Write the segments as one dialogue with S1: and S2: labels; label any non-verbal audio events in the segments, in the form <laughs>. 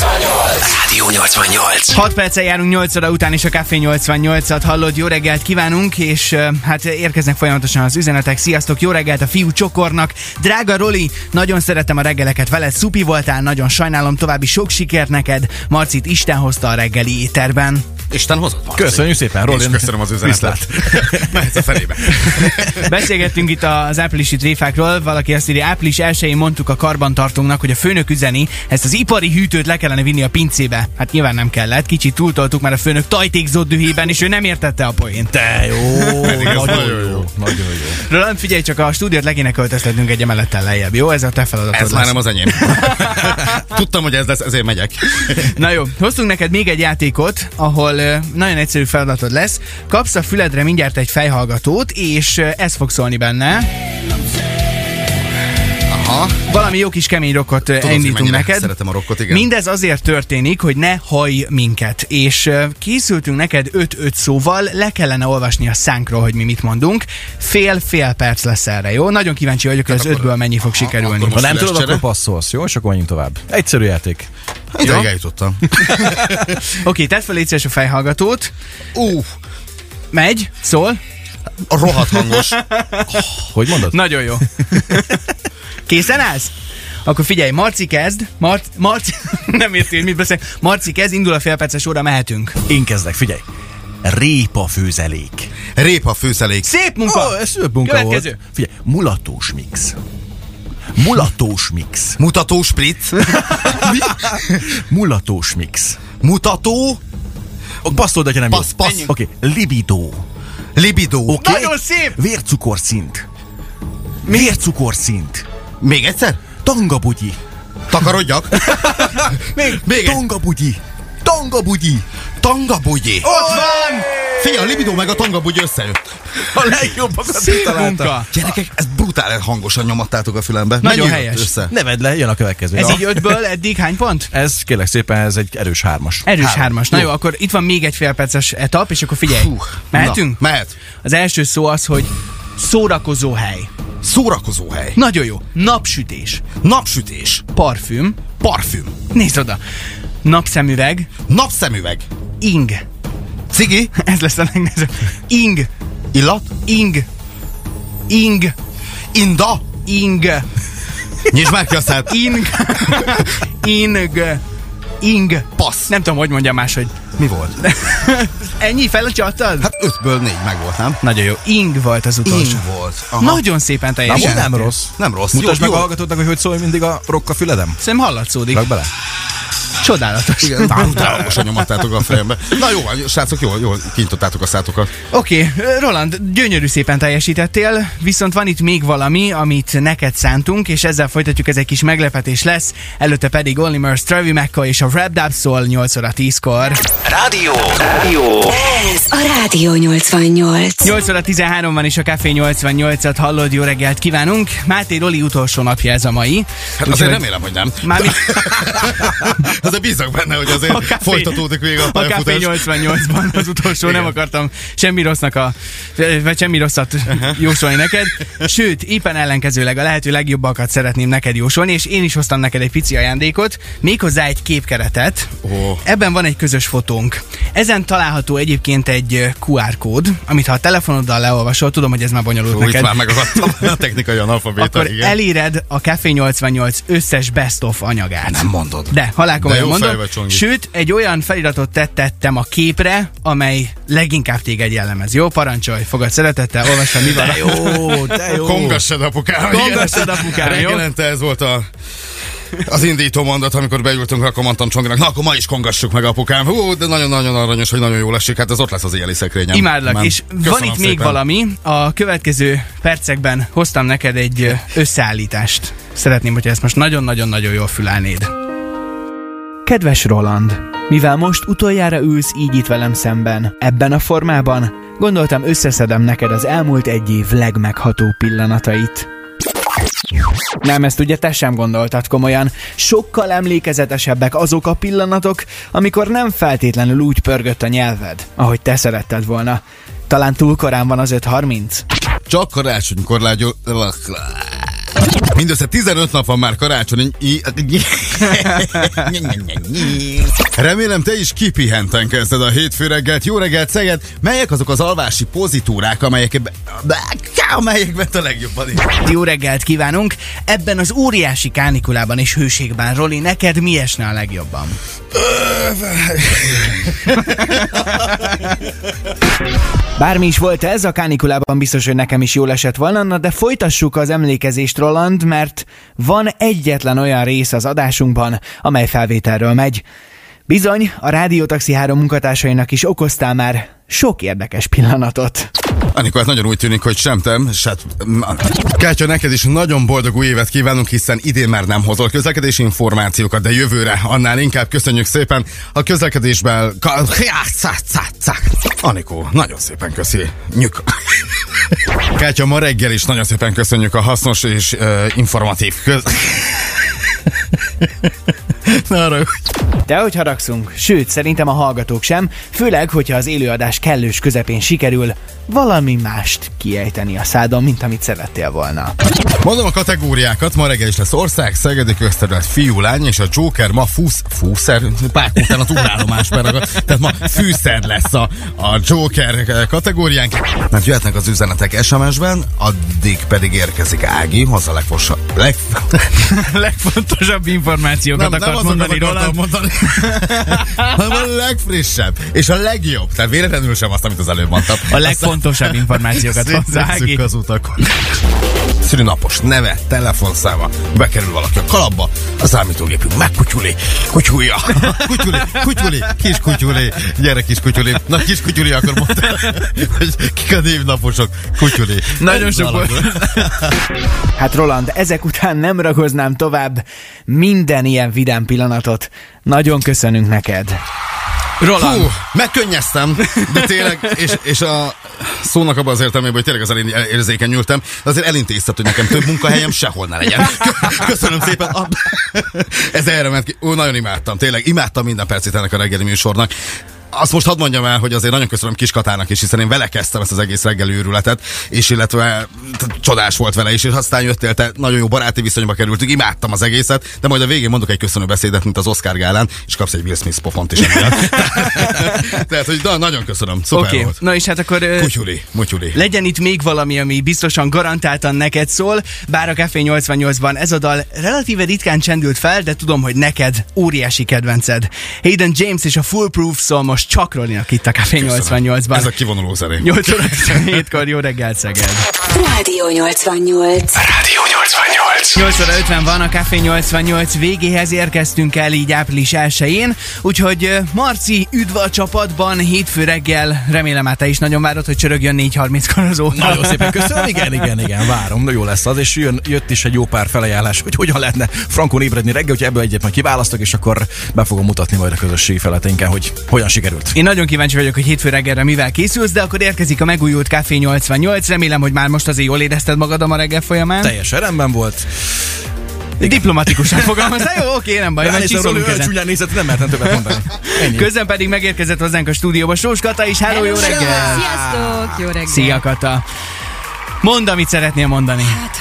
S1: Rádió 88.
S2: 6 perccel járunk 8 óra után, és a Café 88-at hallod. Jó reggelt kívánunk, és ö, hát érkeznek folyamatosan az üzenetek. Sziasztok, jó reggelt a fiú csokornak. Drága Roli, nagyon szeretem a reggeleket veled. Szupi voltál, nagyon sajnálom, további sok sikert neked. Marcit Isten hozta a reggeli éterben.
S1: Isten hozott van.
S3: Köszönjük szépen, Roland.
S4: És köszönöm az üzenetet.
S2: <laughs>
S4: Mehetsz a felébe.
S2: Beszélgettünk itt az áprilisi tréfákról, valaki azt írja, április 1-én mondtuk a karbantartónknak, hogy a főnök üzeni, ezt az ipari hűtőt le kellene vinni a pincébe. Hát nyilván nem kellett, kicsit túltoltuk már a főnök tajtékzott dühében, és ő nem értette a poént.
S3: Te jó,
S4: ez
S3: nagyon
S4: nagyon
S3: jó,
S4: jó.
S3: nagyon jó.
S2: Roland, figyelj csak, a stúdiót le kéne költöztetnünk egy emelettel lejjebb, jó? Ez a te feladatod
S4: Ez
S2: lesz.
S4: már nem az
S3: <laughs>
S4: enyém. Tudtam, hogy ez lesz, ezért megyek.
S2: Na jó, hoztunk neked még egy játékot, ahol ö, nagyon egyszerű feladatod lesz. Kapsz a füledre mindjárt egy fejhallgatót, és ö, ez fog szólni benne.
S4: Aha.
S2: Valami jó kis kemény rockot Tudod,
S4: hogy
S2: indítunk
S4: mennyire
S2: neked.
S4: szeretem a rockot, igen.
S2: Mindez azért történik, hogy ne hallj minket. És ö, készültünk neked 5-5 szóval, le kellene olvasni a szánkról, hogy mi mit mondunk. Fél-fél perc lesz erre, jó? Nagyon kíváncsi vagyok, hogy az
S4: akkor-
S2: ötből mennyi fog
S4: aha,
S2: sikerülni.
S4: akkor
S3: Ha
S4: Most
S3: nem
S4: lesz
S3: tudod,
S4: csere?
S3: akkor passzolsz, jó? És akkor menjünk tovább. Egyszerű játék.
S4: Ideig eljutottam.
S2: Oké, tedd fel légy szíves a fejhallgatót.
S4: Ú,
S2: Megy, szól.
S4: a rohadt hangos.
S3: Hogy mondod?
S2: Nagyon jó. <laughs> Készen állsz? Akkor figyelj, Marci kezd. Mar- <laughs> Marci, nem érti, hogy mit beszél. Marci kezd, indul a félperces óra, mehetünk.
S3: Én kezdek, figyelj. Répa főzelék.
S4: Répa főszelék.
S2: Szép munka!
S3: Ó, ez szép munka
S2: Következő.
S3: volt. Figyelj, mulatós mix. Mulatós mix.
S4: Mutató spritz.
S3: Mulatós mix.
S4: Mutató
S3: Ó, Basztold, hogyha nem
S4: Passz,
S3: jó.
S4: passz.
S3: Oké, okay. libidó.
S4: libidó.
S3: Oké?
S2: Nagyon szép!
S3: Vércukorszint. Vércukorszint.
S4: Még egyszer?
S3: Tangabugyi.
S4: Takarodjak.
S3: Még,
S4: még egy.
S3: Tangabugyi. Tangabugyi.
S4: Tangabugyi.
S2: Ott van!
S4: Fia, a libidó meg a tangabugy összejött.
S3: A legjobbakat
S2: Szép munka!
S4: Gyerekek, ez brutál hangosan nyomattátok a fülembe.
S2: Nagyon
S4: Menjünk
S2: helyes.
S4: Össze.
S3: Neved le, jön a következő.
S2: Ez
S3: Na.
S2: így ötből eddig hány pont?
S3: Ez kérlek szépen, ez egy erős hármas.
S2: Erős
S4: Három.
S2: hármas. Na
S4: Jó.
S2: jó, akkor itt van még egy félperces etap, és akkor figyelj.
S4: Fú,
S2: Mehetünk?
S4: Na, mehet.
S2: Az első szó az, hogy szórakozó hely.
S4: Szórakozó hely.
S2: Nagyon jó. Napsütés.
S4: Napsütés.
S2: Parfüm.
S4: Parfüm.
S2: Nézd oda. Napszemüveg.
S4: Napszemüveg.
S2: Ing. <laughs>
S4: Cigi.
S2: Ez lesz a legnehezebb. Ing.
S4: Illat.
S2: Ing. Ing.
S4: Inda.
S2: Ing.
S4: Nyisd már ki a szert.
S2: Ing. <laughs> Ing. Ing.
S4: Passz.
S2: Nem tudom, hogy mondjam máshogy.
S4: Mi volt?
S2: Ennyi felcsattad?
S4: Hát ötből négy meg volt, nem?
S2: Nagyon jó. Ing volt az utolsó.
S4: Ing volt. Aha.
S2: Nagyon szépen
S3: Na,
S2: teljesített.
S3: most nem rossz.
S4: Nem rossz.
S3: Mutasd
S4: Jó,
S3: meg
S4: jó.
S3: a hallgatóknak, hogy hogy szól mindig a rokka füledem.
S2: Szerintem hallatszódik.
S3: Rak bele.
S2: Csodálatos.
S4: Igen, támogosan nyomattátok a fejembe. Na jó, van, srácok, jól, jól kinyitottátok a szátokat. Hát
S2: Oké, okay, Roland, gyönyörű szépen teljesítettél, viszont van itt még valami, amit neked szántunk, és ezzel folytatjuk, ez egy kis meglepetés lesz. Előtte pedig Only Murs, Travis McCoy és a Rap Dab szól 8 óra 10-kor.
S1: Rádió. Rádió.
S5: Ez a Rádió 88.
S2: 8 óra 13 van, és a Café 88-at hallod, jó reggelt kívánunk. Máté Roli utolsó napja ez a mai.
S4: Hát azért remélem, hogy nem. <laughs>
S2: Mármint
S4: Azért bízok benne, hogy azért
S2: a Café-
S4: folytatódik még a
S2: A Café
S4: pályafutás.
S2: 88-ban az utolsó, nem akartam semmi rossznak a, vagy semmi rosszat jósolni neked. Sőt, éppen ellenkezőleg a lehető legjobbakat szeretném neked jósolni, és én is hoztam neked egy pici ajándékot, méghozzá egy képkeretet.
S4: Ó.
S2: Ebben van egy közös fotónk. Ezen található egyébként egy ö, QR kód, amit ha a telefonoddal leolvasol, tudom, hogy ez már bonyolult
S4: Ó, Itt
S2: neked.
S4: már megakadtam a technikai analfabéta,
S2: Akkor
S4: igen.
S2: eléred a Café 88 összes best of anyagát.
S4: Nem mondod.
S2: De, halálkomolyan
S4: De jó
S2: mondom.
S4: fej vagy, Csongi.
S2: Sőt, egy olyan feliratot tettettem a képre, amely leginkább téged jellemez. Jó, parancsolj, fogad szeretettel, olvasd, mi van. Jó.
S3: Ó, de jó.
S4: Kongassad apukám.
S2: Kongassad, apukám, jó?
S4: Reggelente ez volt a az indító mondat, amikor beültünk, akkor mondtam Csonginak, na akkor ma is kongassuk meg apukám. Hú, de nagyon-nagyon aranyos, hogy nagyon jól esik. Hát ez ott lesz az éjjeli szekrényem.
S2: Imádlak,
S4: Nem.
S2: és van
S4: Köszönöm
S2: itt még
S4: szépen.
S2: valami. A következő percekben hoztam neked egy ö, összeállítást. Szeretném, hogyha ezt most nagyon-nagyon-nagyon jól fülelnéd. Kedves Roland, mivel most utoljára ülsz így itt velem szemben, ebben a formában, gondoltam összeszedem neked az elmúlt egy év legmegható pillanatait. Nem, ezt ugye te sem gondoltad komolyan. Sokkal emlékezetesebbek azok a pillanatok, amikor nem feltétlenül úgy pörgött a nyelved, ahogy te szeretted volna. Talán túl korán van az 5.30?
S4: Csak karácsonykor lágyol... Mindössze 15 nap van már karácsony. <laughs> Remélem te is kipihenten kezded a hétfő reggelt. Jó reggelt, Szeged! Melyek azok az alvási pozitúrák, amelyek amelyekben te legjobban is?
S2: Jó reggelt kívánunk! Ebben az óriási kánikulában és hőségben, Roli, neked mi esne a legjobban? <laughs> Bármi is volt ez, a kánikulában biztos, hogy nekem is jól esett volna, na de folytassuk az emlékezést, Roland, mert van egyetlen olyan rész az adásunkban, amely felvételről megy. Bizony, a Rádiótaxi 3 munkatársainak is okoztál már sok érdekes pillanatot.
S4: Anikó, hát nagyon úgy tűnik, hogy sem te, se... Kátya, neked is nagyon boldog új évet kívánunk, hiszen idén már nem hozol közlekedési információkat, de jövőre annál inkább köszönjük szépen a közlekedésben... ka- Anikó, nagyon szépen köszi. Nyük. Kátya, ma reggel is nagyon szépen köszönjük a hasznos és uh, informatív köz... <laughs> Na, arra,
S2: De hogy haragszunk, sőt, szerintem a hallgatók sem, főleg, hogyha az élőadás kellős közepén sikerül valami mást kiejteni a szádon, mint amit szerettél volna.
S4: Mondom a kategóriákat, ma reggel is lesz ország, Szegedi közterület, fiú, lány, és a Joker ma fúsz, fúszer, pár után a túlállomásban ragad, tehát ma fűszer lesz a, a Joker eh, kategóriánk. Mert jöhetnek az üzenetek SMS-ben, addig pedig érkezik Ági, hozzá a legfossa, leg,
S2: <laughs> Legfontosabb információkat
S4: azokat akartam mondani, hanem a legfrissebb, és a legjobb, tehát véletlenül sem azt, amit az előbb mondtam.
S2: A legfontosabb információkat hozzá, Ági.
S4: Szétszűk az utakon. Szülinapos neve, telefonszáma, bekerül valaki a kalapba, a számítógépünk megkutyuli, kutyulja, <laughs> kutyuli, kutyuli, kis kutyuli, gyere kis kutyuli, na kis kutyuli, akkor mondta, <laughs> hogy kik a névnaposok, kutyuli.
S2: Nagyon sok volt. Hát Roland, ezek után nem ragoznám tovább minden ilyen vidám pillanatot. Nagyon köszönünk neked.
S4: Roland. Hú, megkönnyeztem, de tényleg, és, és a szónak abban az értelmében, hogy tényleg az elén érzékenyültem, azért elintézted, hogy nekem több munkahelyem sehol ne legyen. Kö- Köszönöm szépen. A- Ez erre ment ki. Ó, nagyon imádtam, tényleg imádtam minden percét ennek a reggeli műsornak. Azt most hadd mondjam el, hogy azért nagyon köszönöm Kiskatának is, hiszen én vele kezdtem ezt az egész reggeli őrületet, és illetve t- csodás volt vele is, és aztán jöttél, te nagyon jó baráti viszonyba kerültünk, imádtam az egészet, de majd a végén mondok egy köszönő beszédet, mint az Oscar gálán, és kapsz egy Will Smith pofont is.
S2: <laughs>
S4: emiatt. Tehát, hogy na, nagyon köszönöm, szuper
S2: Oké, okay.
S4: volt.
S2: na és hát akkor... ö,
S4: Kutyuli, mutyuli.
S2: Legyen itt még valami, ami biztosan garantáltan neked szól, bár a Café 88-ban ez a dal relatíve ritkán csendült fel, de tudom, hogy neked óriási kedvenced. Hayden James és a Foolproof szól most csak Rolinak itt a Café
S4: Köszönöm. Ez a
S2: 88-ban.
S4: kivonuló zené.
S2: 8 óra 17-kor jó reggelt Szeged.
S5: Rádió 88.
S1: Rádió 88.
S2: 8 óra 50 van, a Café 88 végéhez érkeztünk el így április 1-én, úgyhogy ö, Marci, üdv a csapatban, hétfő reggel, remélem már te is nagyon várod, hogy csörögjön 4.30-kor az óra.
S6: Nagyon szépen köszönöm, igen, igen, igen, várom, na jó lesz az, és jön, jött is egy jó pár felajánlás, hogy hogyan lehetne frankon ébredni reggel, hogyha ebből egyet majd kiválasztok, és akkor be fogom mutatni majd a közösségi feleténken, hogy hogyan sikerült.
S2: Én nagyon kíváncsi vagyok, hogy hétfő reggelre mivel készülsz, de akkor érkezik a megújult Café 88. Remélem, hogy már most azért jól érezted magad a ma reggel folyamán.
S6: Teljesen rendben volt.
S2: Diplomatikusan fogalmaztál, jó, oké, nem baj, mert
S6: Ránéztem, hogy
S2: csiszolunk
S6: olyan
S2: ezen.
S6: csúnyán nézett, nem mertem többet mondani. Ennyi.
S2: Közben pedig megérkezett hozzánk a stúdióba Sós Kata is, hello, jó reggel!
S7: Sziasztok, jó reggel!
S2: Szia Kata! Mondd, amit szeretnél mondani.
S7: Hát,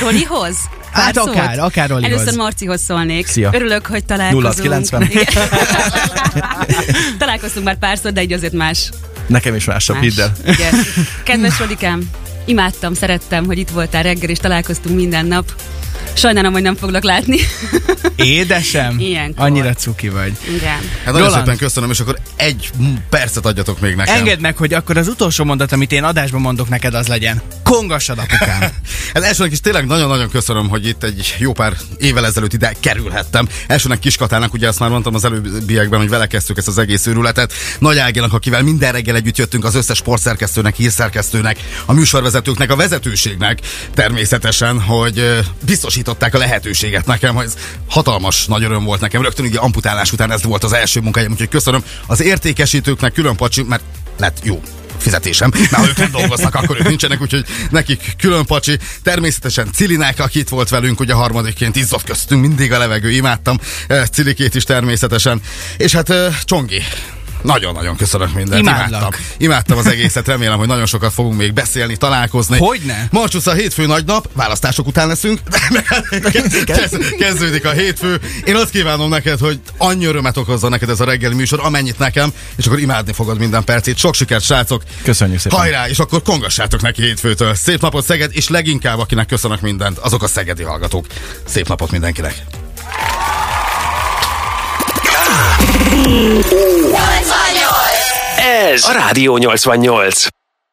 S7: Rolihoz? Pár
S2: Hát akár,
S7: szót?
S2: akár Rolihoz.
S7: Először Marcihoz szólnék.
S6: Szia.
S7: Örülök, hogy találkozunk.
S6: 0690.
S7: Igen. <laughs> Találkoztunk már párszor, de egy azért más.
S6: Nekem is másabb,
S7: más.
S6: hidd el.
S7: Igen. Kedves Rolikám, imádtam, szerettem, hogy itt voltál reggel, és találkoztunk minden nap. Sajnálom, hogy nem foglak látni.
S2: Édesem,
S7: Ilyenkor.
S2: annyira cuki vagy.
S7: Igen.
S4: Hát nagyon
S2: Roland.
S4: szépen köszönöm, és akkor egy percet adjatok még nekem.
S2: Engedd meg, hogy akkor az utolsó mondat, amit én adásban mondok neked, az legyen. Kongassad apukám.
S4: Hát elsőnek is tényleg nagyon-nagyon köszönöm, hogy itt egy jó pár évvel ezelőtt ide kerülhettem. Elsőnek Kiskatának, ugye azt már mondtam az előbbiekben, hogy vele kezdtük ezt az egész őrületet. Nagy Ágénak, akivel minden reggel együtt jöttünk, az összes sportszerkesztőnek, hírszerkesztőnek, a műsorvezetőknek, a vezetőségnek természetesen, hogy ö, biztosították a lehetőséget nekem, hogy ez hatalmas nagy öröm volt nekem. Rögtön ugye amputálás után ez volt az első munkahelyem, úgyhogy köszönöm az értékesítőknek külön pacsi, mert lett jó fizetésem, mert ha ők nem dolgoznak, akkor ők nincsenek, úgyhogy nekik külön pacsi. Természetesen Cilinek, aki itt volt velünk, ugye harmadikként izzott köztünk, mindig a levegő, imádtam eh, Cilikét is természetesen. És hát eh, Csongi, Nagyon-nagyon köszönök mindent.
S2: Imádlak.
S4: Imádtam. Imádtam az egészet, remélem, hogy nagyon sokat fogunk még beszélni, találkozni.
S2: Hogyne?
S4: Marcs utca hétfő nagy nap, választások után leszünk. <laughs> Kezd- Kezdődik a hétfő. Én azt kívánom neked, hogy annyi örömet okozza neked ez a reggeli műsor, amennyit nekem, és akkor imádni fogod minden percét. Sok sikert, srácok!
S6: Köszönjük szépen.
S4: Hajrá, és akkor kongassátok neki hétfőtől. Szép napot Szeged, és leginkább akinek köszönök mindent, azok a szegedi hallgatók. Szép napot mindenkinek!
S1: Ez a Rádió 88.